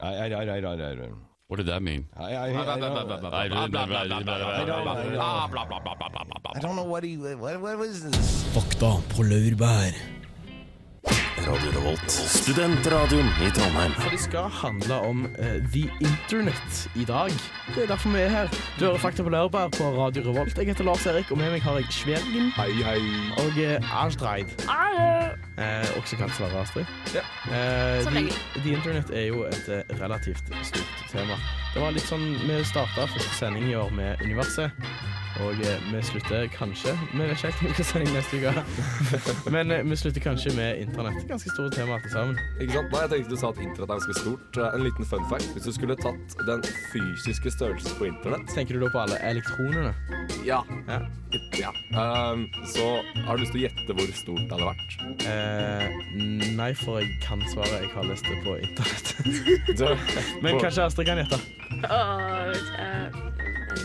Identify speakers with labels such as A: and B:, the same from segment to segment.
A: I, I, I, I, I, I,
B: What did that mean?
A: I, I, I, I, don't,
B: I don't
A: I don't know what he. What, what was this?
C: Fakta på laurbær.
D: Radio Revolt. Studentradioen i Trondheim.
E: For det skal handle om eh, The Internet i dag. Det er derfor vi er her. Du hører Fakta på Lørberg på Radio Revolt. Jeg heter Lars Erik, og med meg har jeg Svergen
A: Hei, hei.
E: og eh, Astrid. Eh, også kalt Sverre Astrid.
A: Ja.
E: Eh,
F: Som
E: the,
F: regel.
E: the Internet er jo et eh, relativt stort tema. Det var litt sånn Vi starta første sending i år med Universet. Og eh, vi slutter kanskje Vi vet ikke helt hvilken sending neste uke er. Men eh, vi slutter kanskje med Internett. Ganske store temaer til sammen.
G: Ikke sant? Nei, jeg tenkte du sa at internett er ganske stort. Eh, En liten fun fact. Hvis du skulle tatt den fysiske størrelsen på internett
E: Tenker du da på alle elektronene?
G: Ja.
E: Ja.
G: ja. Um, så har du lyst til å gjette hvor stort det hadde vært?
E: Eh, nei, for jeg kan svaret. Jeg har lest det på internett.
G: Du-
E: Men
G: Hvor-
E: kanskje Astrid kan gjette.
F: Og eh, en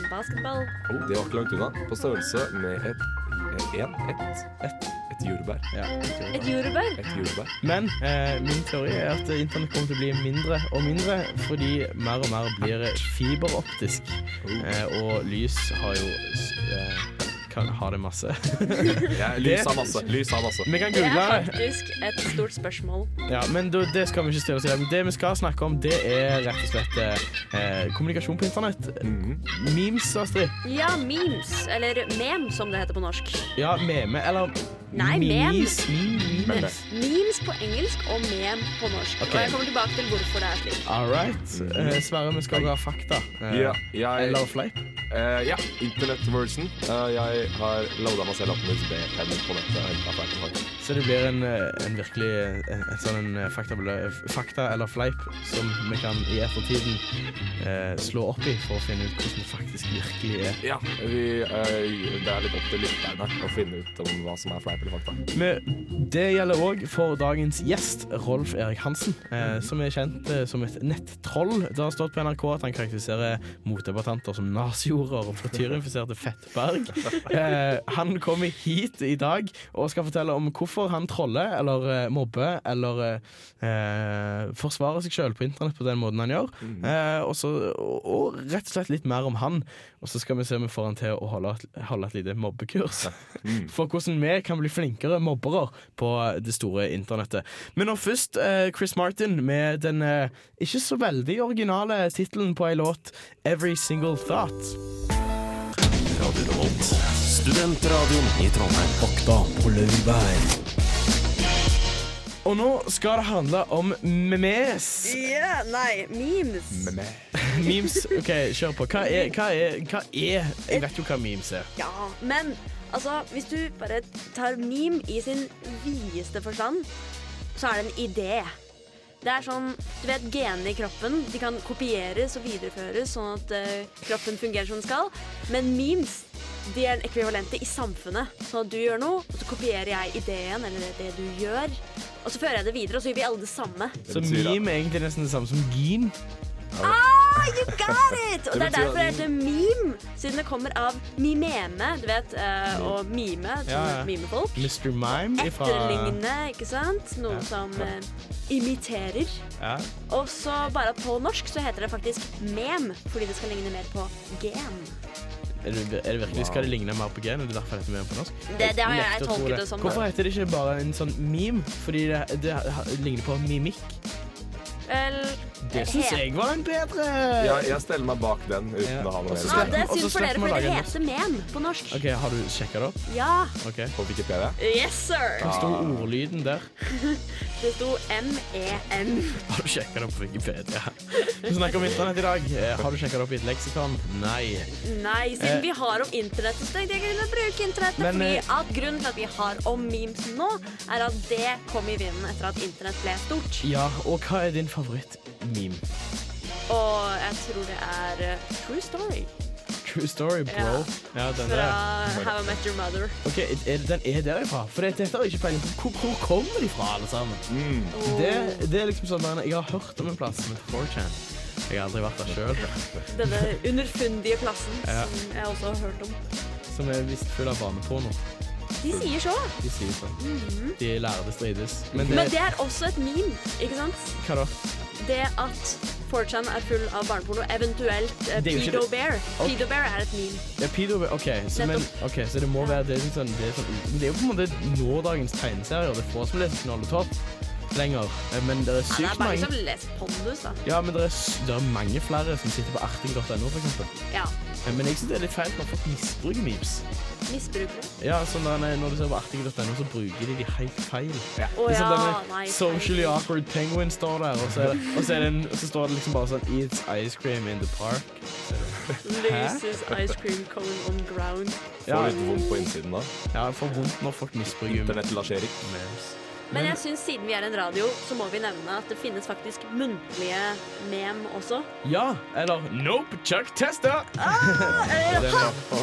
F: basketball.
G: Oh, det var ikke langt unna. På størrelse med et eh, en, et, et, et jordbær.
E: Ja.
F: Et jordbær.
G: Et jordbær.
E: Men eh, min teori er at internett kommer til å bli mindre og mindre fordi mer og mer blir fiberoptisk. Eh, og lys har jo s- eh, kan ha det masse.
G: Ja,
E: Det-
G: lys har masse. Lys har masse.
E: Vi kan
F: Det er
E: google det.
F: faktisk et stort spørsmål.
E: Ja, men da, det skal vi ikke stille oss i dag. Men Det vi skal snakke om, det er rett og slett eh, kommunikasjon på internett.
G: Mhm.
E: Memes, Astrid.
F: Ja, memes. Eller mem, som det heter på norsk.
E: Ja, meme. Eller
F: Nei, mem.
E: memes. Memes.
G: Meme.
F: Memes på engelsk og mem på norsk.
E: Ok.
F: Og jeg kommer tilbake til hvorfor det er slik.
E: All right. Eh, Sverre, vi skal ha fakta. Eh,
G: Ja, jeg,
E: Eller fleip.
G: eh, ja, internett-version. Eh, jeg har loada meg selv opp med USB-pennen på nettet. og hentet fleip og fleip.
E: Så det blir en, eh, en virkelig en, en sånn en eh, fakta, fakta eller fleip som vi kan i ettertiden eh, slå opp i for å finne ut hvordan det faktisk virkelig er.
G: Ja, vi, eh, det er litt opp til lytterne å finne ut om hva som er fleip eller fakta.
E: Men det gjelder òg for dagens gjest, Rolf Erik Hansen, eh, som er kjent eh, som et nettroll. Det har stått på NRK at han karakteriserer motdebattanter som naziorder og frityrinfiserte fettberg. Eh, han kommer hit i dag og skal fortelle om hvorfor han troller eller eh, mobber eller eh, eh, forsvarer seg sjøl på internett på den måten han gjør. Eh, og, så, og, og rett og slett litt mer om han. Og så skal vi se om vi får han til å holde et, holde et lite mobbekurs. For hvordan vi kan bli flinkere mobbere på det store internettet. Men nå først eh, Chris Martin med den eh, ikke så veldig originale tittelen på ei låt, 'Every Single Thought'.
D: Radio Revolt. Studentradioen i Trondheim.
C: Fakta på laurbær.
E: Og nå skal det handle om memes.
F: Ja, nei, memes.
E: Memes, ok, kjør på. Hva er, hva er, hva er Jeg vet jo hva memes er.
F: Ja, men altså, hvis du bare tar meme i sin videste forstand, så er det en idé. Det er sånn, du vet genene i kroppen, de kan kopieres og videreføres sånn at eh, kroppen fungerer som den skal. Men memes, de er en ekvivalente i samfunnet. Sånn at du gjør noe, og så kopierer jeg ideen eller det, det du gjør. Og så fører jeg det videre, og så gjør vi alle det samme.
E: Så
G: betyr at-
E: meme er egentlig nesten det samme som gene.
F: Ah, you got it! Og det
G: Det
F: er
G: betyr
F: derfor det
G: at-
F: heter meme, siden det kommer av mimeme, du vet, eh, og mime, som
E: Ja, ja.
F: mimefolk.
E: Mr. Mime ifra
F: Etterligne, ikke sant? Noe
E: Ja.
F: som eh, imiterer.
E: ja.
F: Og så bare at på norsk så heter det faktisk mem, fordi det skal ligne mer på gen.
E: er, det, er det virkelig Skal det ligne mer på gen? Er det derfor det heter meme på norsk?
F: Det, det har jeg,
E: Lett å tro
F: tolket
E: det.
F: det som.
E: Hvorfor heter det ikke bare en sånn meme? Fordi det, det, ligner på mimikk.
F: Vel, eh,
E: Det syns
F: he-
E: jeg var en bedre
G: Jeg, jeg steller meg bak den uten
E: Ja.
G: å ha noe
E: Og så
F: Ja,
G: mer.
F: det er
E: Og så
F: synd for dere,
E: slipper man
F: fordi det
E: lage en
F: heter mem på norsk.
E: OK, har du sjekka det opp?
F: Ja.
E: Ok.
G: På Wikipedia.
F: Yes, sir.
E: Hva sto ordlyden der?
F: Det sto E M-E-M.
E: Har du sjekka det opp på Wikipedia? Vi snakker om internett i dag. Eh, Har du sjekka det opp i et leksikon? Nei.
F: Nei,
E: Eh.
F: siden vi har om internett, så tenkte jeg kunne bruke internettet.
E: Men,
F: fordi
E: eh,
F: at Grunnen til at vi har om memes nå, er at det kom i vinden etter at internett ble stort.
E: Ja, og hva er din favoritt-meme?
F: Og jeg tror det er eh, True Story
E: True story, bro.
F: Ja.
E: Ja, den
F: fra
E: der.
F: How I Met Your Mother.
E: Ok, er, den er derifra. For dette har jeg ikke peiling på. Hvor, hvor kommer de fra, alle sammen?
F: Og
E: Det, det er liksom sånn man, Jeg har hørt om en plass som heter 4chan. Jeg har aldri vært der sjøl.
F: Denne underfundige plassen
E: Ja.
F: som jeg også har hørt om.
E: Som er visst full av barneporno. Mm.
F: De sier så.
E: De sier sånn. De lærde strides. Men det,
F: Men det er også et meme, ikke sant?
E: Hva da?
F: Det at 4chan er full av barneporno, eventuelt eh,
E: Det er jo ikke
F: Pedo
E: det.
F: Bear.
E: Ok.
F: Pedo Bear er et meme.
E: Ja, pedo, ok, så, men, ok, så det må være det, er sånn, det, er sånn, men det er jo på en måte nådagens tegneserier. Det er få som leser Knoll og Topp lenger. Eh, Men det er
F: Ja, det er
E: sykt
F: bare liksom
E: mange
F: les pondus, da.
E: ja, men det er, s- det er mange flere som sitter på arting.no, for eksempel.
F: Ja.
E: Eh, Men jeg synes det er litt feil når folk misbruker memes.
F: Misbrukere.
E: Ja, sånn der, nei, Når du ser på artig.no, så bruker de de helt feil. Ja.
F: Å
E: Liksom
F: ja,
E: denne
F: nei, feil.
E: Socially awkward penguin står der, og så, er det, og så, er det en, og så står det liksom bare sånn Eats ice cream in the park.
F: Loses ice cream cone on ground.
E: Ja,
G: Får litt vondt på innsiden da.
E: ja jeg får vondt når folk misbruker
G: Internett lasjerer.
E: memes.
F: Men jeg syns siden vi er en radio, så må vi nevne at det finnes faktisk muntlige mem også.
E: Ja, eller Nope, Chuck Tester!
G: Oh.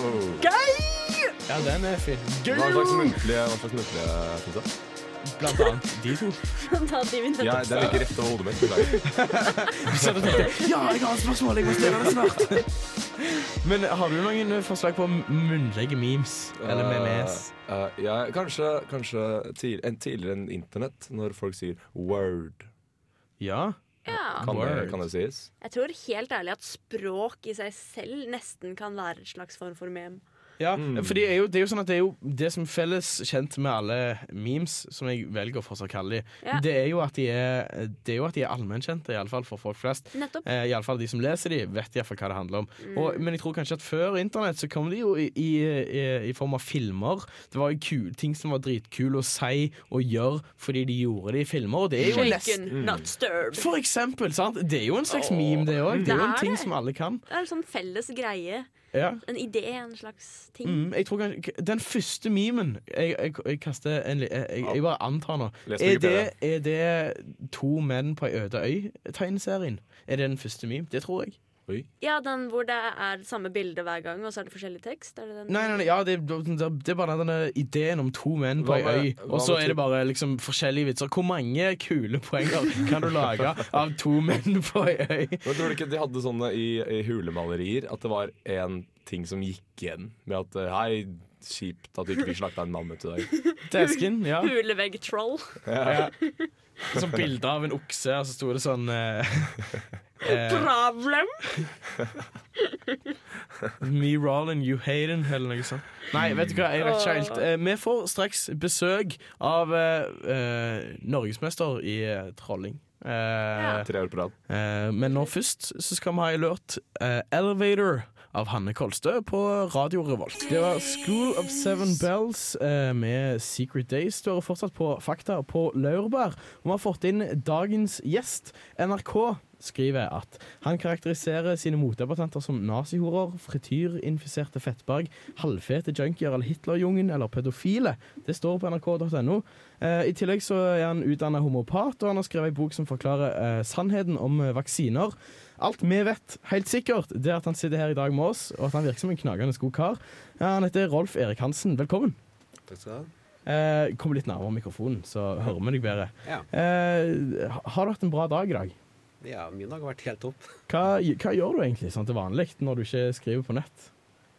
E: Ja, den er fin.
G: Hva slags muntlige, hva slags muntlige finnes det?
E: Blant annet de to.
F: Da de vi
G: Ja,
F: nettopp
G: det er like rett over hodet mitt. beklager.
E: Så det tenkte jeg, ja, jeg har et spørsmål, jeg må stille det snart. Men har du noen forslag på munnlige memes? Eller memes?
G: Eh, eh, ja, kanskje kanskje tid, en tidligere enn internett, når folk sier word.
E: Ja.
F: Ja.
G: Kan, Det,
E: Word.
G: kan det sies?
F: Jeg tror helt ærlig at språk i seg selv nesten kan være et slags form for mem.
E: Ja, for det er, jo, det er jo sånn at det er jo det som felles kjent med alle memes, som jeg velger å fortsatt kalle de,
F: Ja.
E: det er jo at de er, det er, jo at de er allmennkjente, iallfall for folk flest.
F: Nettopp. Mm.
E: Eh, i alle fall de som leser de, vet iallfall hva det handler om. Og, men jeg tror kanskje at før internett så kom de jo i, i, i, i form av filmer. Det var jo kul, ting som var dritkule å si og gjøre fordi de gjorde det i filmer, og det er jo nesten Mm.
F: Shaken, not stirred.
E: For eksempel, sant? Det er jo en slags meme, det òg. Det er jo
F: Det
E: en
F: er
E: ting
F: det.
E: som alle kan.
F: Det er en sånn felles greie.
E: Ja.
F: En idé, en slags ting.
E: Mm, jeg tror kanskje, den første memen Jeg, jeg, jeg kaster en li- jeg, jeg, jeg bare antar nå.
G: Les
E: Er det,
G: Wikipedia.
E: er det to menn på ei øde øy-tegneserien? Er det den første meme? Det tror jeg.
G: Oi.
F: Ja, den hvor det er samme bilde hver gang, og så er det forskjellig tekst? Er det den?
E: Nei, nei, nei ja, det, det er bare denne ideen om to menn på
G: Hva
E: ei
G: med-
E: øy,
G: hva
E: og så
G: med
E: er det
G: typ-
E: bare liksom forskjellige vitser. Hvor mange kule poenger kan du lage av to menn på ei øy?
G: Men tror du ikke de hadde sånne i, i hulemalerier? At det var en ting som gikk igjen? Med at eh, hei, kjipt at du ikke fikk slakta en mammut i dag.
E: Desken, ja.
F: Hulevegg-troll.
E: ja. Sånn bilde av en okse, og så sto det sånn eh, eh,
F: Problem!
E: Me, Rollin, you Hayden, eller noe sånt. Nei, vet du hva, jeg vet ikke helt. Eh, Vi får straks besøk av eh, eh, norgesmester i eh, trolling. Eh,
G: Tre år på rad.
E: eh, men nå først så skal vi ha en låt. eh, 'Elevator' av Hanne Kolstø på Radio Revolt. Det var 'School of Seven Bells' eh, med 'Secret Days'. Du hører fortsatt på Fakta på laurbær. Og vi har fått inn dagens gjest. NRK skriver at han karakteriserer sine motdebattanter som nazihorer, frityrinfiserte fettberg, halvfete junkier eller Hitlerjungen eller pedofile. Det står på nrk.no. Eh, I tillegg så er han utdannet homopat, og han har skrevet en bok som forklarer eh, sannheten om eh, vaksiner. Alt vi vet helt sikkert, det er at han sitter her i dag med oss, og at han virker som en knagende god kar. Ja, han heter Rolf Erik Hansen. Velkommen.
B: Takk skal du ha.
E: Eh, kom litt nærmere mikrofonen, så hører vi deg bedre.
B: Ja.
E: Eh, ha- har du hatt en bra dag i dag?
B: ja, min dag har vært helt topp.
E: Hva, hva gjør du egentlig sånn til vanlig når du ikke skriver på nett?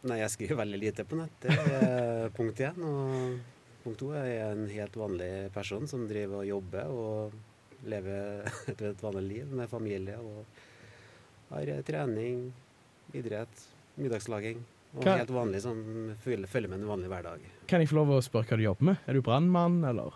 B: Nei, jeg skriver veldig lite på nett. Det er punkt én. Og punkt to er jeg en helt vanlig person som driver og jobber og lever et helt vanlig liv med familie og har trening, idrett, middagslaging. Og
E: Hva-
B: helt vanlig som følger følger med en vanlig hverdag.
E: Kan jeg få lov å spørre hva du jobber med? Er du brannmann, eller?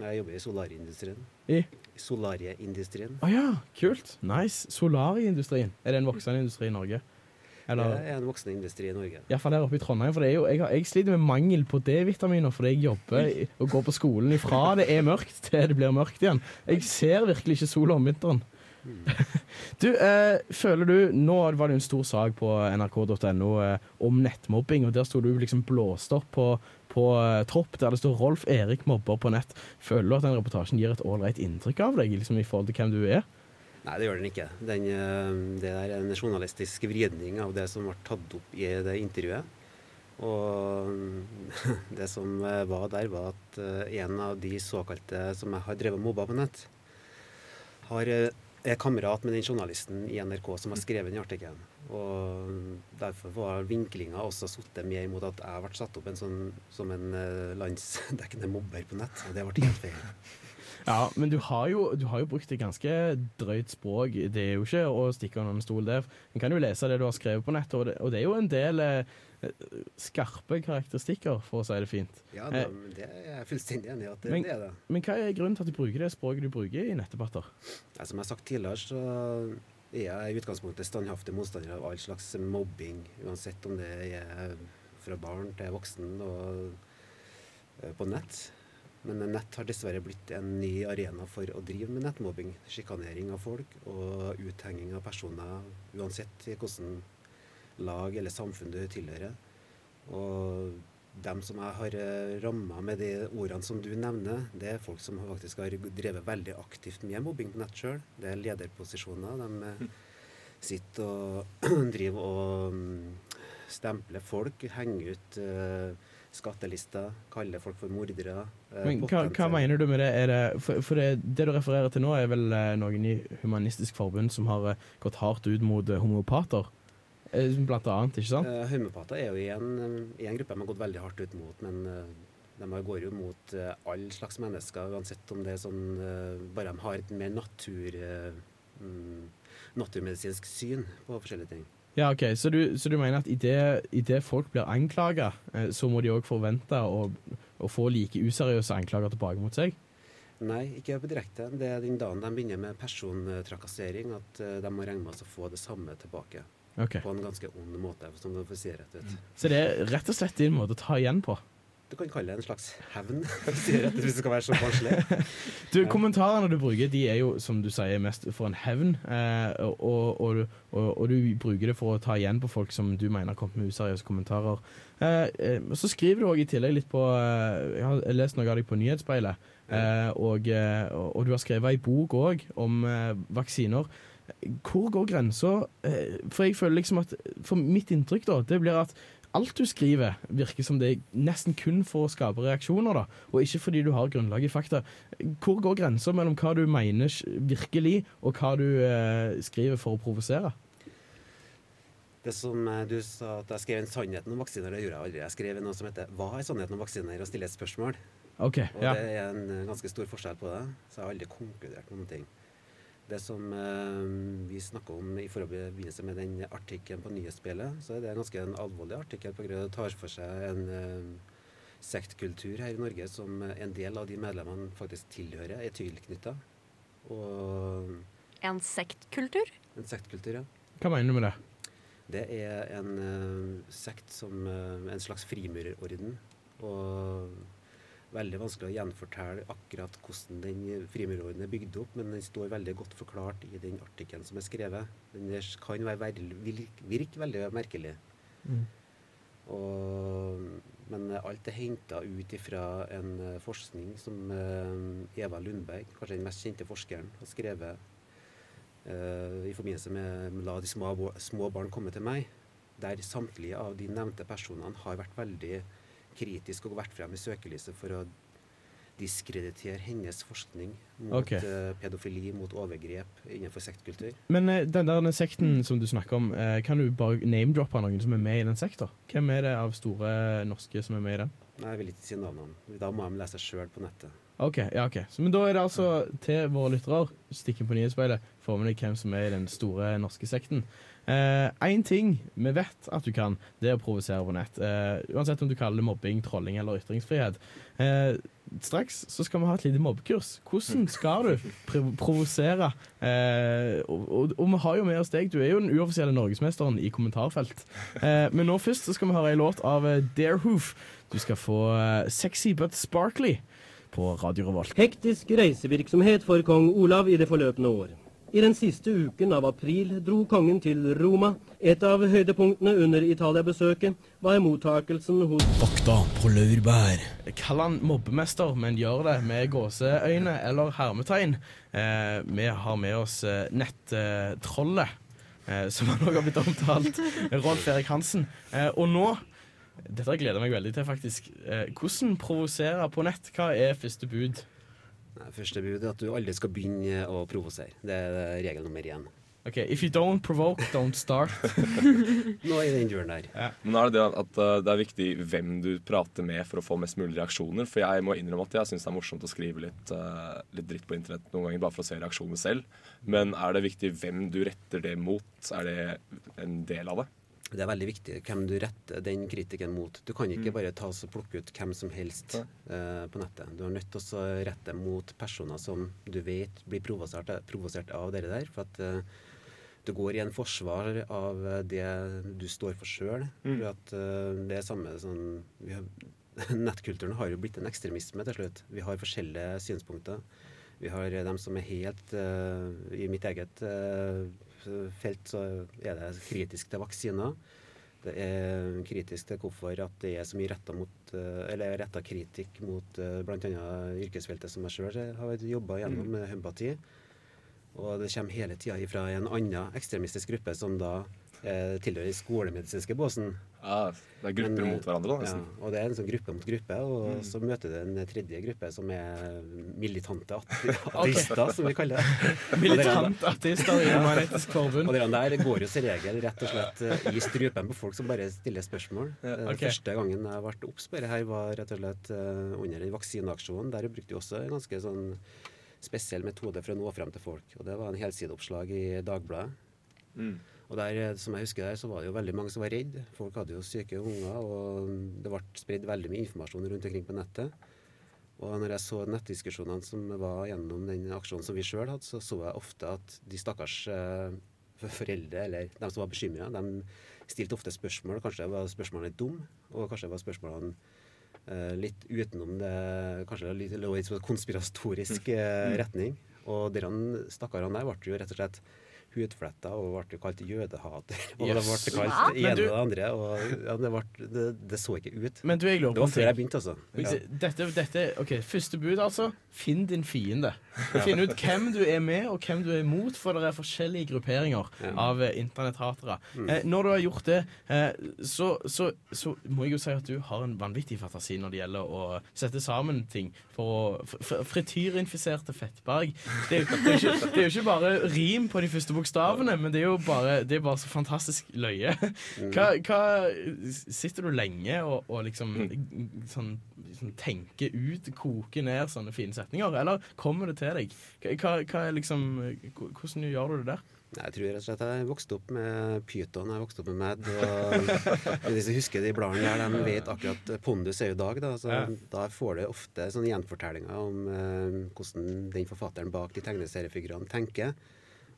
B: Jeg jobber i solarindustrien.
E: I?
B: I solarieindustrien.
E: Å ja, kult. Nice. Solariindustrien. Er det en voksende industri i Norge?
B: Det
E: Eller
B: er en voksende industri i Norge.
E: iallfall her oppe i Trondheim. For det er jo, jeg, har, jeg sliter med mangel på D-vitaminer fordi jeg jobber i- og går på skolen ifra det er mørkt til det blir mørkt igjen. Jeg ser virkelig ikke sola om vinteren. Du, eh, føler du Nå var det jo en stor sak på nrk.no eh, om nettmobbing, og der sto du liksom blåst opp på, på eh, topp, der det står 'Rolf Erik mobber på nett'. Føler du at den reportasjen gir et ålreit inntrykk av deg, liksom i forhold til hvem du er?
B: Nei, det gjør den ikke. Den, eh, det der er en journalistisk vridning av det som ble tatt opp i det intervjuet. Og mm, det som eh, var der, var at eh, en av de såkalte som jeg har drevet og mobba på nett, har, eh, er kamerat med den journalisten i NRK som har skrevet den artikkelen. Og mm, derfor var vinklinga også sittet mer mot at jeg ble satt opp en sånn, som en eh, landsdekkende mobber på nett. Og det ble helt feil.
E: Ja, men du har, jo, du har jo brukt et ganske drøyt språk. Det er jo ikke å stikke under en stol der. En kan jo lese det du har skrevet på nettet, og det, og det er jo en del eh, skarpe karakteristikker, for å si det fint.
B: Ja, da, men det er jeg fullstendig enig i at det,
E: Men-
B: det er det.
E: Men hva er grunnen til at du bruker det språket du bruker i nettdebatter?
B: Nei, som jeg har sagt tidligere, så er jeg i utgangspunktet standhaftig motstander av all slags mobbing. Uansett om det er fra barn til voksen og eh, på nett. Men nett har dessverre blitt en ny arena for å drive med nettmobbing. Sjikanering av folk og uthenging av personer, uansett i hvordan lag eller samfunn du tilhører. Og dem som jeg har ramma med de ordene som du nevner, det er folk som faktisk har drevet veldig aktivt med mobbing på nett sjøl. Det er lederposisjoner. De eh, sitter og driver og mm, stempler folk, henger ut eh, skattelister, kaller folk for mordere. eh,
E: Men hva, hva
B: potensielle-
E: mener du med det? Er det for for det, det du refererer til nå, er vel eh, noen i Humanistisk Forbund som har eh, gått hardt ut mot eh, homopater? Eh, Blant annet, ikke sant?
B: Eh, Homeopater er jo i en, eh, i en gruppe de har gått veldig hardt ut mot, men eh, de har- går jo mot eh, all slags mennesker, uansett om det er sånn eh, Bare de har et mer natur, eh, mm, naturmedisinsk syn på forskjellige ting.
E: Ja, ok, Så du, så du mener at idet folk blir anklaga, så må de òg forvente å, å få like useriøse anklager tilbake mot seg?
B: Nei, ikke på direkte. Det er den dagen de begynner med persontrakassering, at eh, de må regne med å få det samme tilbake.
E: Ok,
B: På en ganske ond måte, som du får si rett ut.
E: Så det er rett og slett din måte å ta igjen på?
B: Du kan kalle det en slags hevn, for å si det rett ut, hvis det skal være så barnslig.
E: Du, Kommentarene du bruker, de er jo som du sier mest for en hevn. Eh, og, og, du- og, og du bruker det for å ta igjen på folk som du mener har kommet med useriøse kommentarer. Eh, eh, så skriver du òg i tillegg litt på eh, Jeg har lest noe av deg på Nyhetsspeilet. Eh, og, eh, og og du har skrevet ei bok òg om eh, vaksiner. Hvor går grensa? Eh, for jeg føler liksom at For mitt inntrykk da, det blir at alt du skriver, virker som det er nesten kun for å skape reaksjoner, da, og ikke fordi du har grunnlag i fakta. Hvor går grensa mellom hva du mener virkelig, og hva du eh, skriver for å provosere?
B: Det som eh, du sa at jeg skrev en sannheten om vaksiner, det gjorde jeg aldri. Jeg skrev noe som heter 'Hva er sannheten om vaksiner?' og stiller et spørsmål.
E: OK.
B: Og
E: Ja.
B: det er en eh, ganske stor forskjell på det. Så jeg har aldri konkludert med noen ting. Det som eh, vi snakka om i forbindelse med den artikkelen på Nyhetsspillet, så er det en ganske en alvorlig artikkel på grunn av det tar for seg en eh, sektkultur her i Norge som eh, en del av de medlemmene faktisk tilhører, er tilknytta. Og
H: En sektkultur?
B: en sektkultur, ja.
E: Hva mener du med det?
B: Det er en eh, sekt som eh, en slags frimurerorden. Og veldig vanskelig å gjenfortelle akkurat hvordan den frimurerordenen er bygd opp, men den står veldig godt forklart i den artikkelen som er skrevet. Den der kan være vel- virke, virke veldig merkelig. Og, men eh, alt er henta ut ifra en eh, forskning som eh, Eva Lundberg, kanskje den mest kjente forskeren, har skrevet eh, i forbindelse med 'La de små, bo- små barn komme til meg', der samtlige av de nevnte personene har vært veldig kritiske og vært frem i søkelyset for å diskreditere hennes forskning mot
E: Ok.
B: eh, pedofili, mot overgrep innenfor sektkultur.
E: Men eh, den der sekten som du snakker om, eh, kan du bare name-droppe noen som er med i den sekta? Hvem er det av store norske som er med i den?
B: Nei, jeg vil ikke si navnene. Da må de lese sjøl på nettet.
E: OK. ja, ok. Så, men da er det altså til våre lyttere, stikk inn på nyhetsspeilet, få med deg hvem som er i den store norske sekten. Én ting vi vet at du kan, det er å provosere på nett. Eh, uansett om du kaller det mobbing, trolling eller ytringsfrihet. Eh, straks så skal vi ha et lite mobbekurs. Hvordan skal du pr- provosere? Eh, og, og, og vi har jo med oss deg, du er jo den uoffisielle norgesmesteren i kommentarfelt. Eh, men nå først så skal vi høre ei låt av eh, Darehoof. Du skal få eh, Sexy but Sparkly på Radio Revolt.
I: Hektisk reisevirksomhet for kong Olav i det forløpne år. I den siste uken av april dro kongen til Roma. Et av høydepunktene under Italia-besøket var mottakelsen hos
C: Fakta på laurbær.
E: Kall han mobbemester, men gjør det med gåseøyne eller hermetegn. Eh, vi har med oss eh, nettrollet, eh, som han også har blitt omtalt. Rolf Erik Hansen. Eh, og nå Dette gleder jeg meg veldig til, faktisk. Eh, hvordan provosere på nett? Hva er første bud?
B: Nei, Første bud er at du aldri skal begynne å provosere. Det er regel nummer én.
E: Ok, Ok, If you don't provoke, don't start.
B: Nå i den duren der.
G: Men da er det det at eh, det er viktig hvem du prater med for å få mest mulig reaksjoner. For jeg må innrømme at jeg syns det er morsomt å skrive litt, eh, litt dritt på internett noen ganger, bare for å se reaksjoner selv. Men er det viktig hvem du retter det mot? Er det en del av det?
B: Det er veldig viktig hvem du retter den kritikken mot. Du kan ikke bare ta og plukke ut hvem som helst eh, på nettet. Du er nødt til å rette mot personer som du vet blir provosert, provosert av det der. For at eh, du går i en forsvar av eh, det du står for sjøl. For at eh, det er samme sånn vi har, Nettkulturen har jo blitt en ekstremisme til slutt. Vi har forskjellige synspunkter. Vi har eh, dem som er helt eh, I mitt eget eh, felt så er det kritisk til vaksiner. Det er kritisk til hvorfor at det er så mye retta mot eh, Eller retta kritikk mot bl.a. yrkesfeltet som jeg sjøl har jobba gjennom, mm. Humpati. Og det kommer hele tida ifra en annen ekstremistisk gruppe som da eh, tilhører skolemedisinske båsen.
G: det er grupper
B: Men, eh,
G: mot hverandre, da, nesten. Mm.
B: Ja, og det er en sånn gruppe mot gruppe, og så møter du en tredje gruppe som er militante at- ateister, som vi kaller det.
E: Militant artister i Human-Etisk
B: Og
E: Forbund.
B: de der går jo som regel rett og slett eh, i strupen på folk som bare stiller spørsmål. Eh,
E: ok.
B: Første gangen jeg ble obs på dette, her var rett og slett eh, under den vaksineaksjonen. Der brukte vi også en ganske sånn spesiell metode for å nå frem til folk. Og det var en helsideoppslag i Dagbladet. Og der, eh, som jeg husker der, så var det jo veldig mange som var redd. Folk hadde jo syke unger, og det ble spredd veldig mye informasjon rundt omkring på nettet. Og når jeg så nettdiskusjonene som var gjennom den aksjonen som vi sjøl hadde, så så jeg ofte at de stakkars eh, for- foreldre, eller de som var bekymra, de stilte ofte spørsmål. Kanskje var spørsmålene litt dumme, og kanskje var spørsmålene eh, litt utenom det Kanskje det litt- lå i en sånn konspiratorisk
E: Mm.
B: eh, retning. Og de stakkarene der ble jo rett og slett hudfletta og ble jo kalt jødehater. Og det ble kalt det
E: Men
B: ene
E: du-
B: og det andre. Og ja, det, ble, det, det så ikke ut.
E: Men du, jeg lurer
B: Det
E: på
B: var
E: en
B: før jeg
E: ting.
B: begynte, altså.
E: Dette, dette, ok, Første bud, altså. Finn din fiende. Finn ut hvem du er med, og hvem du er mot, for det er forskjellige grupperinger av eh, internetthatere.
B: Mm.
E: Eh, når du har gjort det, eh, så, så, så må jeg jo si at du har en vanvittig fantasi når det gjelder å sette sammen ting for å fr- fr- Frityrinfiserte Fettberg. Det er, jo- det, er jo ikke, det er jo ikke bare rim på de første bokstavene, men det er jo bare, det er bare så fantastisk løye. Hva, hva Sitter du lenge og, og liksom sånn, sånn tenker ut, koker ned sånne fine setninger, eller kommer det til deg? Hva, hva- hva er liksom Hvordan gjør du det der?
B: Nei, Jeg tror rett og slett jeg vokste opp med Python, jeg vokste opp med Mad. Og de som husker de bladene der, de vet akkurat Pondus er jo dag, da. Så da får du ofte sånne gjenfortellinger om eh, hvordan den forfatteren bak de tegneseriefigurene tenker.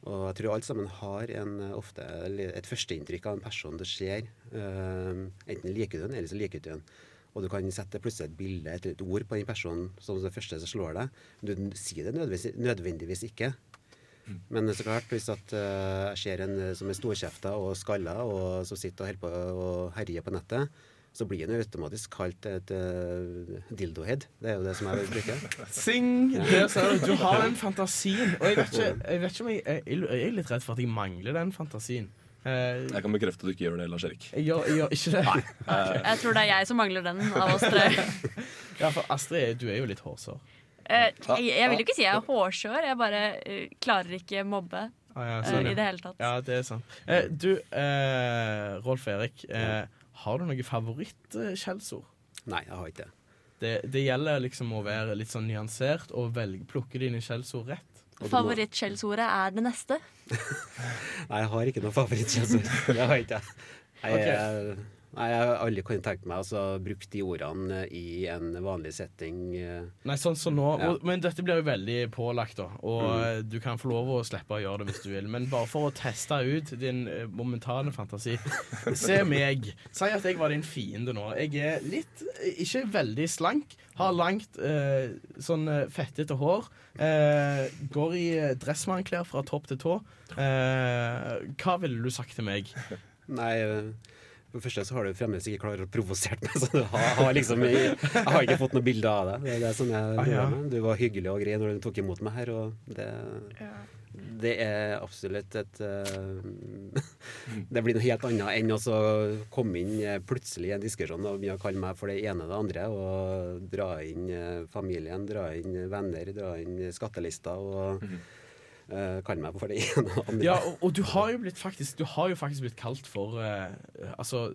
B: Og jeg tror alle sammen har en, eh, ofte li- et førsteinntrykk av en person du ser. Eh, enten liker du den, eller så liker du ikke den. Og du kan sette plutselig et bilde eller et ord på den personen som det første som slår deg. Men du sier det nødvendigvis, nødvendigvis ikke. Men så klart, hvis at eh, jeg ser en eh, som er storkjefta og skalla, og som sitter og holder på og herjer på nettet, så blir han jo automatisk kalt et eh, dildohead. Det er jo det som jeg bruker.
E: Sing! Der sa du Du har den fantasien. Og jeg vet ikke, jeg vet ikke om jeg, jeg, jeg er litt redd for at jeg mangler den fantasien. Eh,
G: Jeg kan bekrefte at du ikke gjør det, Lars Erik.
E: jeg, gjør, jeg gjør ikke det.
H: Jeg tror det er jeg som mangler den av oss tre.
E: Ja, for Astrid, du er jo litt hårsår.
H: Eh, Jeg, jeg vil jo ikke si jeg er hårsår, jeg bare eh, klarer ikke mobbe
E: Ah, ja,
H: eh,
E: sånn,
H: i
E: ja.
H: det hele tatt.
E: Ja, det er sant. Eh, du, eh, Rolf Erik, eh, har du noe eh, favorittskjellsord?
B: Nei, jeg har ikke det.
E: Det, det gjelder liksom å være litt sånn nyansert og velge, plukke dine skjellsord rett.
H: Favorittskjellsordet er det neste.
B: Nei, jeg har ikke noe favorittkjensel. Det har jeg ikke. Nei,
E: Ok.
B: jeg, nei, jeg aldri kan tenke meg å altså, bruke de ordene i en vanlig setting. eh.
E: Nei, sånn som nå
B: Ja.
E: og, Men dette blir jo veldig pålagt, da. Og eh, du kan få lov å slippe å gjøre det hvis du vil, men bare for å teste ut din eh, momentane fantasi. Se meg. Si at jeg var din fiende nå. Jeg er litt eh, Ikke veldig slank. Har langt, eh, sånn eh, fettete hår. Eh, går i eh, dressmannklær fra topp til tå. Eh, hva ville du sagt til meg?
B: Nei, eh, for det første så har du fremdeles ikke klart å provosere meg, så du har, har liksom Jeg har ikke fått noe bilde av deg. Det er det som er
E: Ah, ja.
B: problemet. Du var hyggelig og grei når du tok imot meg her, og det Det er absolutt et eh, Det blir noe helt annet enn å så komme inn eh, plutselig i en diskusjon og begynne å kalle meg for det ene og det andre, og
E: Mhm.
B: dra inn eh, familien, dra inn venner, dra inn skattelister og eh, kalle meg for det ene og andre.
E: Ja, og, og du har jo blitt faktisk Du har jo faktisk blitt kalt for eh, Altså,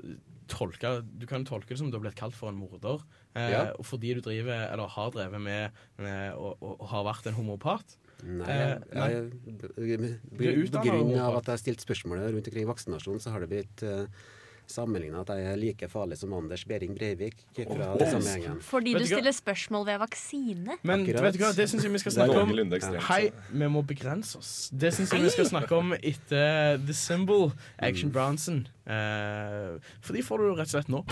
E: tolka, du kan jo tolke det som du har blitt kalt for en morder eh,
B: Ja.
E: og fordi du driver, eller har drevet med, med og, og, og har vært en homopat.
B: Nei,
E: Eh, nei.
B: jeg, jeg, på
E: Du er utdannet
B: grunn av
E: homofil.
B: at jeg har stilt spørsmålet rundt omkring vaksinasjon, så har det blitt uh, sammenligna at jeg er like farlig som Anders Behring Breivik fra den samme gjengen.
H: Fordi du
E: Vet du hva?
H: stiller spørsmål ved vaksine.
E: Men
B: Akkurat.
E: vet du hva, det syns jeg vi skal snakke om.
G: Noenlunde ekstremt. så-
E: Hei, vi må begrense oss. Det syns jeg vi skal snakke om etter The Symbol, Action Bronson. Eh, for de får du rett og slett nå.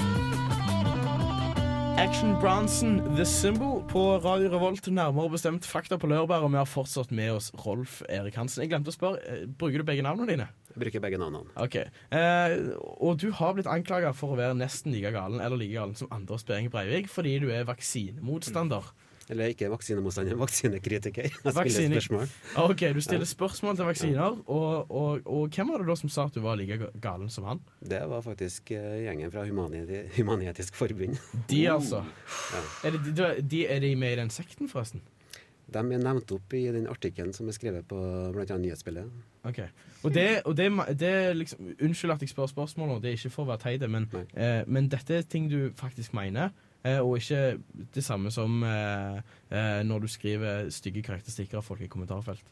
E: Action Bronson, The Symbol, på Radio Revolt. Nærmere bestemt Fakta på lørdag, og vi har fortsatt med oss Rolf Erik Hansen. Jeg glemte å spørre, eh, bruker du begge navnene dine?
B: Jeg bruker begge navnene.
E: Ok. Eh, og du har blitt anklaga for å være nesten like galen eller like galen som Anders Behring Breivik fordi du er vaksinemotstander.
B: Eller ikke vaksinemotstander, vaksinekritiker. Jeg stiller
E: Vaksine-
B: spørsmål.
E: Ok, Du stiller spørsmål til vaksiner, og, og, og hvem var det da som sa at du var like galen som han?
B: Det var faktisk eh, gjengen fra Humani- Human-Etisk Forbund.
E: De,
B: Uh,
E: altså. Er, det, de, de, er de med i den sekten, forresten?
B: De er nevnt opp i den artikkelen som er skrevet på bl.a. nyhetsbildet.
E: Ok. Og det, og det, ma- det er liksom, Unnskyld at jeg spør spørsmål, nå, det er ikke for å være teit, men,
B: Nei.
E: eh, men dette er ting du faktisk mener. eh, Og ikke det samme som eh, eh, når du skriver stygge karakteristikker av folk i kommentarfelt.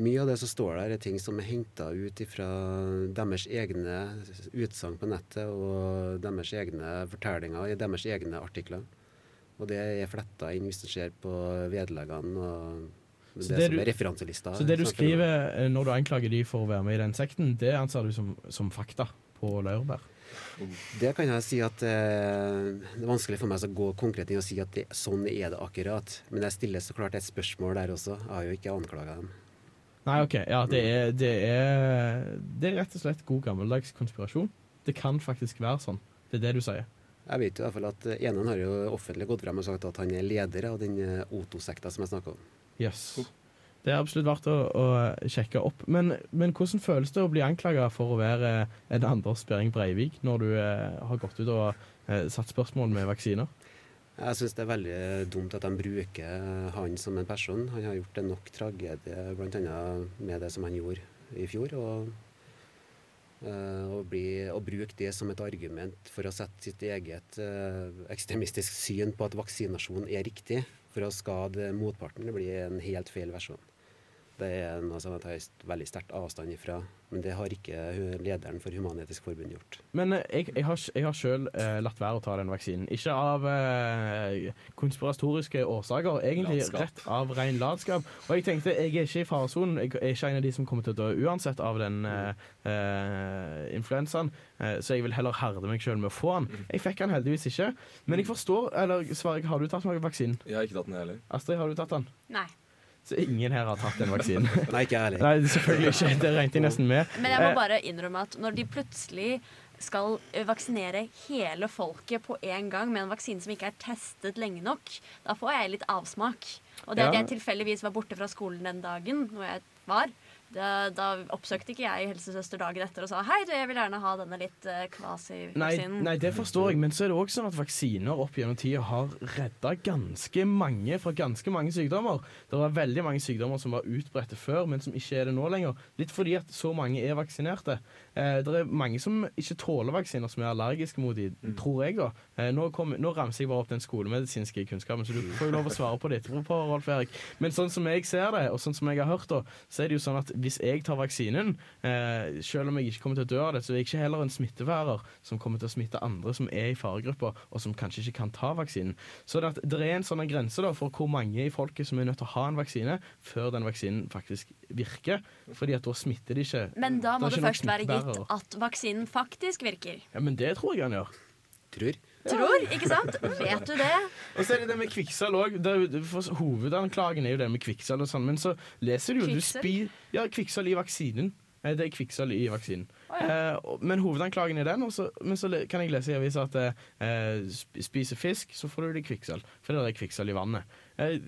B: Mye av det som står der, er ting som er henta ut fra deres egne utsagn på nettet og deres egne fortellinger i deres egne artikler. Og det er fletta inn hvis du ser på vederlagene og det,
E: det
B: som
E: du-
B: er referanselista.
E: Så det du
B: Snakker om.
E: skriver eh, når du anklager de for å være med i den sekten, det anser du som, som fakta på laurbær?
B: Det kan jeg si at eh, det er vanskelig for meg å gå konkret inn og si at det, sånn er det akkurat. Men jeg stiller så klart et spørsmål der også. Jeg har jo ikke anklaga dem.
E: Nei, ok. Ja, det er, det er, det er rett og slett god gammeldags konspirasjon. Det kan faktisk være sånn. Det er det du sier.
B: Jeg vet jo i hvert fall at eh, enen har jo offentlig gått frem og sagt at han er leder av den eh, Oto-sekta som jeg snakker om.
E: Jøss. Det er absolutt verdt å, å sjekke opp. Men, men hvordan føles det å bli anklaga for å være en Anders Behring Breivik når du eh, har gått ut og eh, satt spørsmål med vaksiner?
B: Jeg syns det er veldig dumt at de bruker han som en person. Han har gjort det nok tragedie, bl.a. med det som han gjorde i fjor. Og, eh, å, bli, å bruke det som et argument for å sette sitt eget eh, ekstremistisk syn på at vaksinasjon er riktig, for å skade motparten, det blir en helt feil versjon. Det er noe som jeg tar veldig sterkt avstand ifra. Men det har ikke hu- lederen for Human-Etisk Forbund gjort.
E: Men eh, jeg, jeg har, sj- jeg har sjøl eh, latt være å ta den vaksinen. Ikke av eh, konspiratoriske årsaker, egentlig
G: Latskap.
E: rett av ren latskap. Og jeg tenkte jeg er ikke i faresonen. Jeg er ikke en av de som kommer til å dø uansett av den eh, eh, influensaen, eh, så jeg vil heller herde meg sjøl med å få den. Jeg fikk den heldigvis ikke. Men jeg forstår Eller Sverre, har du tatt noen vaksinen?
G: Jeg har ikke tatt den heller.
E: Astrid, har du tatt den?
H: Nei.
E: Så ingen her har tatt den vaksinen.
B: Nei, ikke jeg heller.
E: Nei, selvfølgelig ikke. Det regnet jeg nesten med.
H: Men jeg må
E: Eh,
H: bare innrømme at når de plutselig skal eh, vaksinere hele folket på en gang med en vaksine som ikke er testet lenge nok, da får jeg litt avsmak. Og det at
E: Ja.
H: jeg tilfeldigvis var borte fra skolen den dagen, når jeg var, da, da oppsøkte ikke jeg helsesøster dagen etter og sa hei, du, jeg vil gjerne ha denne litt eh,
E: Nei,
H: kvasi-vaksinen.
E: nei, det forstår jeg, men så er det også sånn at vaksiner opp gjennom tida har redda ganske mange fra ganske mange sykdommer. Det var veldig mange sykdommer som var utbredte før, men som ikke er det nå lenger. Litt fordi at så mange er vaksinerte. Eh, det er mange som ikke tåler vaksiner, som er allergiske mot de, tror jeg, da. Eh, nå, kom, nå ramser jeg bare opp den skolemedisinske kunnskapen, så du får jo lov å svare på det etterpå, Rolf Erik. Men sånn som jeg ser det, og sånn som jeg har hørt, da, så er det jo sånn at hvis jeg tar vaksinen, eh, selv om jeg ikke kommer til å dø av det, så er jeg ikke heller en smittebærer som kommer til å smitte andre som er i faregruppa, og som kanskje ikke kan ta vaksinen. Så det, at det er en sånn grense da, for hvor mange i folket som er nødt til å ha en vaksine før den vaksinen faktisk virker, fordi at da smitter de ikke.
H: Men da må det,
E: Det er ikke nok
H: først være gitt
E: smittebærere.
H: at vaksinen faktisk virker.
E: Ja, men det tror jeg han gjør.
B: Tror.
H: Tror, ikke sant? Vet du det?
E: Og så er det det med kvikksølv òg. Hovedanklagen er jo det med kvikksølv og sånn, men så leser du jo du
H: Kvikksølv?
E: spi- Ja, kvikksølv i vaksinen. Eh, Det er kvikksølv i vaksinen. Eh, og- men hovedanklagen er den, og så, men så le- kan jeg lese i avisa at eh, sp- spiser fisk, så får du det i kvikksølv. For det er kvikksølv i vannet. Eh,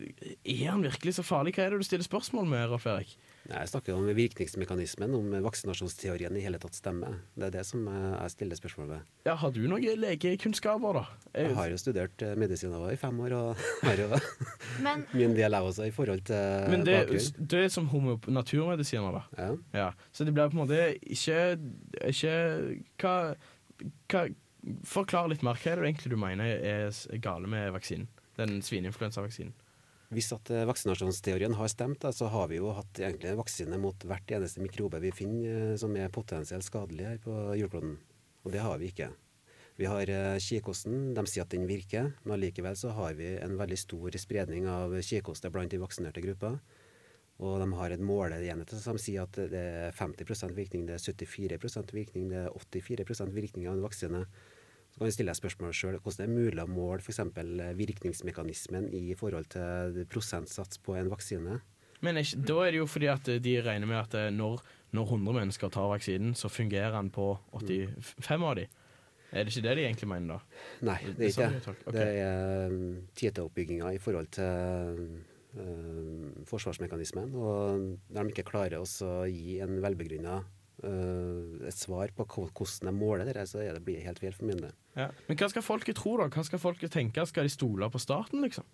E: er han virkelig så farlig? Hva er det du stiller spørsmål med, Rolf Erik?
B: Nei, Jeg snakker om virkningsmekanismen, om vaksinasjonsteorien i hele tatt stemmer. Det er det som eh, jeg stiller spørsmål ved.
E: Ja, har du noen legekunnskaper, da?
B: Jeg har jo studert eh, medisin også i fem år, og har jo
H: Men
B: min del jeg også i forhold til
E: Men det,
B: eh, bakgrunn.
E: det er som homop- naturmedisiner, da.
B: Ja.
E: Ja. Så det blir på en måte ikke, ikke hva, hva Forklar litt mer. Hva er det egentlig du mener er s- gale med vaksinen? Den svineinfluensavaksinen.
B: Hvis at eh, vaksinasjonsteorien har stemt, da, så har vi jo hatt egentlig en vaksine mot hvert eneste mikrobe vi finner eh, som er potensielt skadelig her på jordkloden. Og det har vi ikke. Vi har eh, kikhosten. De sier at den virker, men allikevel så har vi en veldig stor spredning av kikhoste blant de vaksinerte grupper. Og de har en måleenhet som sier at det er 50 virkning, det er 74 virkning, det er 84 virkning av en vaksine. Så kan vi stille deg spørsmålet sjøl hvordan det er mulig å måle f.eks. virkningsmekanismen i forhold til prosentsats på en vaksine.
E: Men er ikke, da er det jo fordi at de regner med at eh, når, når 100 mennesker tar vaksinen, så fungerer den på 85 av de. Er det ikke det de egentlig mener, da?
B: Nei, det
E: Det
B: er
E: sa
B: ikke
E: du,
B: det.
E: takk. Ok.
B: Det er um, TT-oppbygginga i forhold til um, forsvarsmekanismen. Og når de ikke klarer også å gi en velbegrunna et svar på hva- hvordan de måler det, her, så er det, blir det helt feil for min del.
E: Ja. Men hva skal folket tro, da? Hva skal folket tenke? Skal de stole på staten, liksom?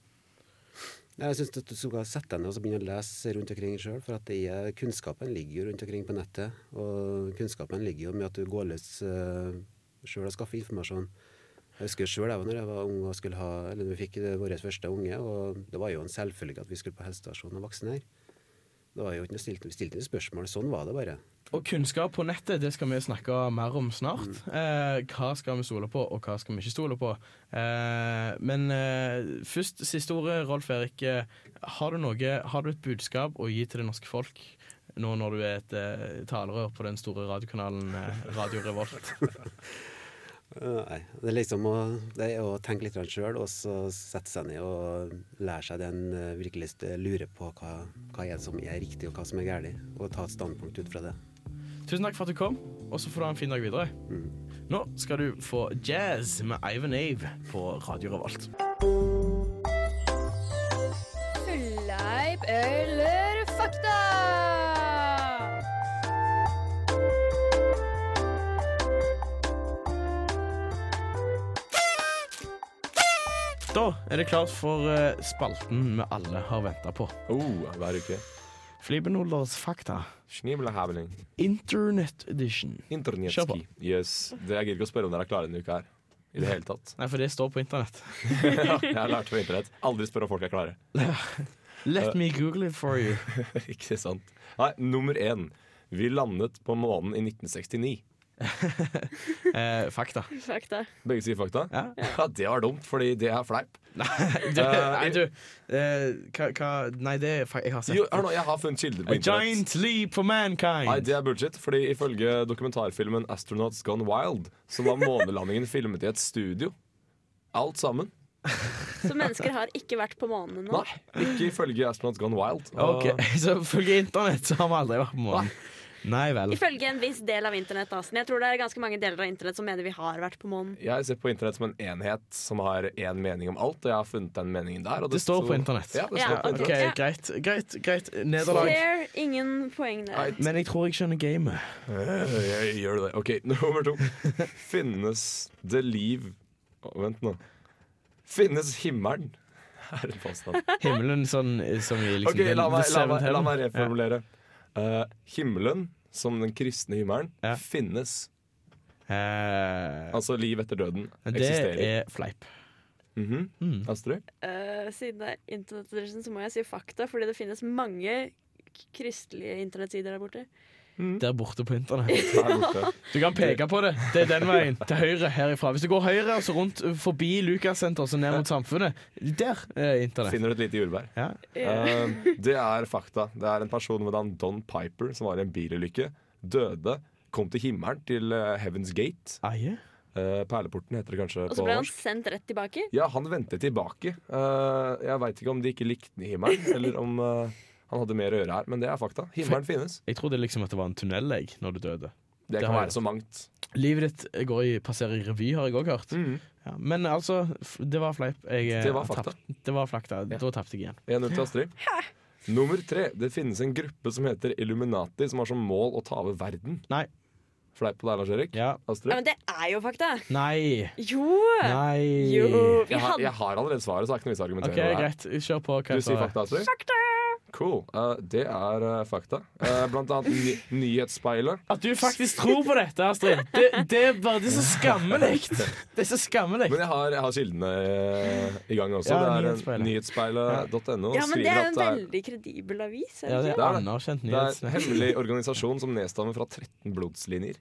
B: Jeg syns du skal sette deg ned og så begynne å lese rundt omkring sjøl, for at det er, kunnskapen ligger jo rundt omkring på nettet. Og kunnskapen ligger jo med at du går løs uh, sjøl og skaffer informasjon. Jeg husker sjøl da jeg var ung og skulle ha, eller når vi fikk eh, vår første unge, og det var jo en selvfølge at vi skulle på helsestasjonen og vaksinere. Det var jo ikke noe stilt, vi stilte ikke spørsmål, sånn var det bare.
E: Og kunnskap på nettet det skal vi snakke mer om snart. Eh, hva skal vi stole på, og hva skal vi ikke stole på? Eh, men eh, først siste ordet, Rolf Erik. Eh, Har du, noe, har du et budskap å gi til det norske folk nå når du er et eh, talerør på den store radiokanalen eh, Radio Revolt?
B: Eh, Nei, det er liksom å, det er å tenke litt sjøl, og så sette seg ned og lære seg den eh, virkelig st- lure på hva, hva er det som er riktig, og hva som er galt, og ta et standpunkt ut fra det.
E: Tusen takk for at du kom, og så får du ha en fin dag videre. Nå skal du få jazz med Ivan Ave på Radio Revolt.
J: Fulleip eller fakta?
E: Da er det klart for eh, spalten vi alle har venta på.
G: Oh, hver uke.
E: Flibenholders fakta.
G: Schnibla happening.
E: Internett edition. Kjør på.
G: Internetski. Yes. Det, jeg gidder ikke å spørre om dere er klare denne uka her. I det hele tatt.
E: Nei, for det står på internett.
G: Jeg har lært på internett. Aldri spør om folk er klare.
E: Let me google it for you.
G: ikke sant. Nei, nummer én. Vi landet på månen i 1969.
E: Eh, fakta.
F: Fakta.
G: Begge sier fakta?
E: Ja.
G: Det var dumt, fordi det er fleip.
E: Det, nei, du eh, hva, hva Nei, det er fa Jeg har sett
G: Jo, hør nå, jeg har funnet kilder
E: A
G: på internett.
E: giant leap for
G: Nei,
E: mankind.
G: det er bullshit, fordi ifølge dokumentarfilmen 'Astronauts Gone Wild' så var månelandingen filmet i et studio. Alt sammen.
F: Så mennesker har ikke vært på månen nå?
G: Nei, ikke ifølge 'Astronauts Gone Wild'. Og-
E: Ok, Så ifølge internett så har vi aldri vært på månen. Nei vel.
F: Ifølge en viss del av internett. da. Så Jeg tror det er ganske mange deler av internett som mener vi har vært på månen.
G: Jeg ser på internett som en enhet som har én mening om alt, og jeg har funnet den meningen der. Og
E: Det står på internett.
G: Ja, det
F: Ja,
G: står på
F: ok.
G: internett.
E: OK, greit. Greit. greit Nederlag.
F: Fair, ingen poeng der.
E: Men jeg tror jeg skjønner gamet.
G: Øh, jeg Gjør du det? OK, nummer to. Finnes det liv Å, Vent nå. Finnes himmelen? Er en påstand.
E: Himmelen sånn eh, som i liksom
G: OK,
E: den-
G: la
E: the
G: meg, la
E: seventh
G: meg, la
E: heaven.
G: meg reformulere. Eh, himmelen, som den kristne himmelen,
E: Ja.
G: finnes.
E: Ja.
G: Altså liv etter døden
E: Eh, det Mm.
G: eksisterer.
E: er fleip.
G: Mhm. Astrid?
F: Eh, siden det er Internett Edition, så må jeg si fakta, fordi det finnes mange k- kristelige internettsider der borte.
E: Der borte på internett.
G: Her borte.
E: Du kan peke på det. Det er den veien. Til høyre herifra. Hvis du går høyre og så rundt uh, forbi Lukassenter og så ned mot Samfunnet, der er internett.
G: Finner du et lite jordbær?
E: Ja.
G: Eh, det er fakta. Det er en person ved navn Don Piper som var i en bilulykke. Døde. Kom til himmelen, til eh, Heaven's Gate.
E: Eie?
G: Eh, Perleporten heter det kanskje
F: Og
G: på
F: så ble han
G: norsk.
F: sendt rett tilbake.
G: Ja, han vendte tilbake. Eh, jeg veit ikke om de ikke likte den i himmelen, eller om eh, han hadde mer å gjøre her, men det er fakta. Himmelen finnes.
E: Jeg trodde liksom at det var en tunnel jeg, når du døde.
G: Det,
E: Det
G: kan
E: har
G: være så mangt.
E: Livet ditt går i, passerer i revy, har jeg òg hørt. Ja, men altså, f- det var fleip. Jeg, eh,
G: Mm. Det var fakta.
E: tapt- Det var fakta.
G: Ja.
E: Da tapte jeg igjen.
G: 1-0 til Astrid. Nummer tre. Det finnes en gruppe som heter Illuminati, som har som mål å ta over verden.
E: Nei.
G: Fleip på deg, Lars Erik.
E: Ja.
G: Astrid?
F: Ja, men det er jo fakta.
E: Nei.
F: Jo!
E: Nei.
F: Jo. Vi
G: Jeg har,
F: hadde
G: jeg har allerede svaret, så det er ikke noe vits i å argumentere.
E: OK,
G: med det her.
E: greit. Kjør på. Hva
G: Du sier
E: svaret er.
G: fakta, Astrid? Cool. Eh, det er eh, fakta. Eh, blant annet ny Nyhetsspeilet.
E: At du faktisk tror på dette, Astrid. Det, det er bare det er så skammelig. Det er så skammelig.
G: Men jeg har, jeg har kildene eh, i gang også.
E: Ja,
G: det er
E: Nyhetsspeilet.
G: nyhetsspeilet.no.
F: Ja, men
G: skriver
F: det er
G: at
F: jo en veldig kredibel avis. Er
E: Ja,
F: det
E: det
F: ikke?
E: er anerkjent
G: det er en
E: nyhetsnett.
G: hemmelig organisasjon som nedstammer fra 13 blodslinjer.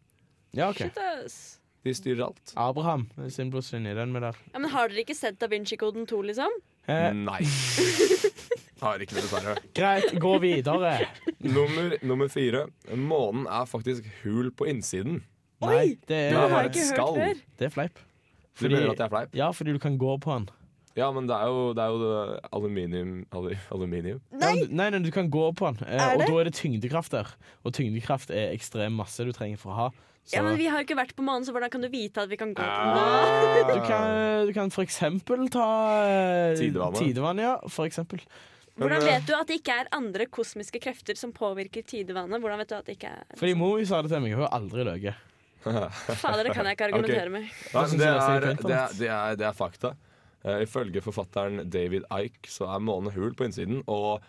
E: Ja, OK.
F: Shit, ass.
G: De styrer alt.
E: Abraham sin blodslinje. Den med der.
F: Ja, men Har dere ikke sett Da Vinci-koden 2, liksom?
E: Eh,
G: Nei. Har ikke det, dessverre.
E: greit, gå videre.
G: Nummer, nummer fire. Månen er faktisk hul på innsiden.
E: Nei, det
G: Det
F: har
G: er
E: er,
G: bare
F: jeg
G: et
F: ikke hørt
G: skall.
F: før.
E: det er fleip.
G: Du mener at jeg er fleip?
E: Ja, fordi du kan gå på han.
G: Ja, men det er jo, det er jo det aluminium, alu- aluminium.
E: Nei, nei, nei du kan gå på han. Eh,
F: Er
E: og
F: det?
E: da er det tyngdekraft der. Og tyngdekraft er ekstrem masse du trenger for å ha. Så
F: Ja, men Vi har jo ikke vært på månen, så hvordan kan du vite at vi kan gå på den?
E: du, kan, du kan for eksempel ta eh,
G: Tidevannet.
E: Tidevann, ja. For eksempel.
F: Hvordan
G: Men, eh,
F: vet du at det ikke er andre kosmiske krefter som påvirker tidevannet? Hvordan vet du at det ikke er
E: Fordi mor sa det til meg, hun har aldri løyet.
F: Fader, det kan jeg ikke argumentere med.
G: Nei, det,
E: synes sånn jeg nesten
G: er,
E: ikke på
G: det, er,
E: internett.
G: det, er, det er fakta. Eh, ifølge forfatteren David Ike så er månen hul på innsiden. Og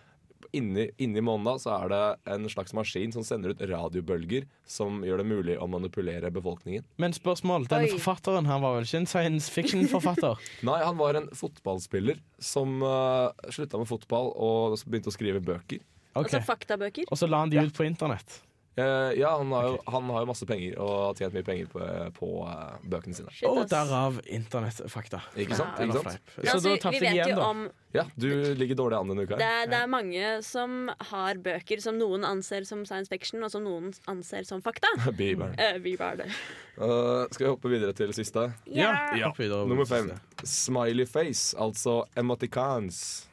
G: inni, inni månen da så er det en slags maskin som sender ut radiobølger som gjør det mulig å manipulere befolkningen.
E: Men spørsmål, denne
F: Oi.
E: forfatteren han var vel ikke en science fiction-forfatter?
G: Nei, han var en fotballspiller som eh, slutta med fotball og s- begynte å skrive bøker.
E: Ok,
F: Altså faktabøker.
E: Og så la han de ut på internett.
G: Eh, ja, han har, jo, han har jo masse penger og har tjent mye penger på, på eh, bøkene sine.
F: Shit,
E: Og
F: ass.
E: derav internettfakta.
G: Ikke sant?
E: Eller
G: Ikke sant?
E: fleip.
F: Men
E: Så da
F: altså, vi
E: tapte jeg
F: vet
E: igjen,
F: jo
E: da.
F: om
G: Ja, du ligger dårlig an denne uka.
F: det
G: her.
F: er, det er mange som har bøker som noen anser som science fiction, og som noen anser som fakta.
G: Bieber.
F: Eh, vi var det.
G: Eh, skal vi hoppe videre til siste?
E: Ja, hopp videre.
G: Nummer fem. Smiley face, altså emoticons.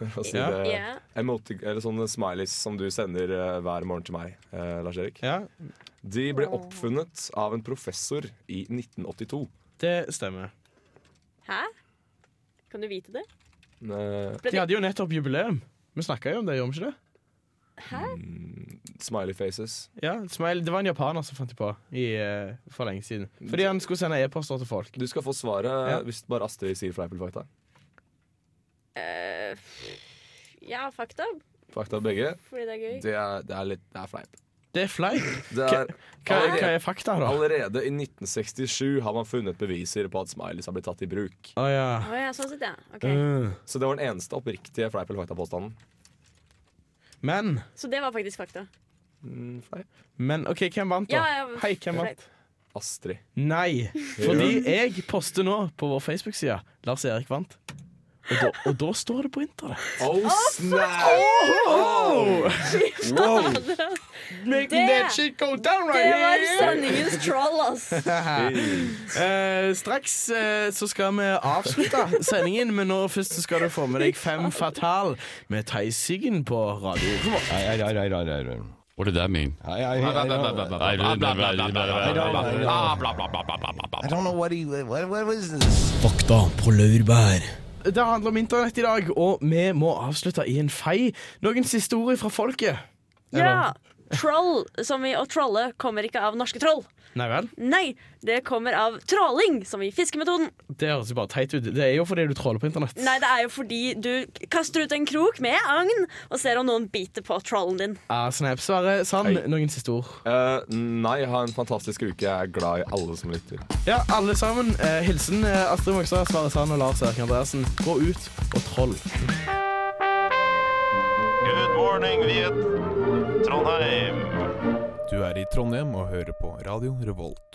G: For å si
E: Ja.
G: det.
F: Ja.
G: Emoti eller sånne smileys som du sender eh, hver morgen til meg, eh, Lars Erik.
E: Ja,
G: De ble oppfunnet av en professor i 1982.
E: det stemmer.
F: Hæ? Kan du vite det?
G: Eh,
E: De hadde jo nettopp jubileum. Vi snakka jo om det, gjorde vi ikke det?
F: Hæ?
G: smiley faces.
E: Ja, smile. Det var en japaner som fant det på i, eh, for lenge siden. Fordi han skulle sende e-poster til folk.
G: Du skal få svaret
E: Ja.
G: hvis bare Astrid sier fleip eller fakta.
F: Eh, ja, fakta.
G: Fakta begge.
F: Fordi det er gøy.
G: Det er, det er litt Det er fleip.
E: Det er fleip.
G: Det er,
E: Hva, hva er fakta, da? Å
G: allerede i 1967 har man funnet beviser på at smileys har blitt tatt i bruk.
E: ja.
F: Å ja, sånn sett, ja. Ok.
E: Mm.
G: Så det var den eneste oppriktige fleip eller fakta-påstanden.
E: Men,
F: Så det var faktisk fakta.
G: Mm, fleip.
E: men OK, hvem vant, da?
F: Ja, ja,
E: Hei, hvem vant?
G: Astrid.
E: Nei, fordi jeg poster nå på vår Facebook-side Lars Erik vant. Og da, og da står det på internett.
G: Oh, snap!
E: Making
F: that
E: shit go down
F: Det var sendingens troll, ass.
E: Eh, straks eh, så skal vi avslutte sendingen, men nå først så skal du få med deg Fem fatal med Theis Siggen på radio. Revolt.
A: I, I, I, I, I, I don't.
D: What did that mean?
A: I, I, I, I, don't-
D: I
A: I don't- I don't know what he. What, what was this?
C: Fakta på laurbær.
E: Det handler om internett i dag, og vi må avslutte i en fei. Noen siste ord fra folket.
F: Ja! Troll, som i å trolle, kommer ikke av norske troll.
E: Nei vel?
F: Nei, det kommer av tråling, som i fiskemetoden.
E: Det høres jo bare teit ut. Det er jo fordi du tråler på internett.
F: Nei, det er jo fordi du kaster ut en krok med agn og ser om noen biter på trollen din.
E: Ah, Snap, Sverre Sand,
G: Hei.
E: noen siste ord?
G: Eh, nei, ha en fantastisk uke. Jeg er glad i alle som lytter.
E: Ja, alle sammen. Eh, hilsen eh, Astrid Mogstad, Sverre Sand og Lars Erik Andreassen. Gå ut og troll.
K: Good morning, Viet. Trondheim.
L: Du er i Trondheim og hører på Radio Revolt.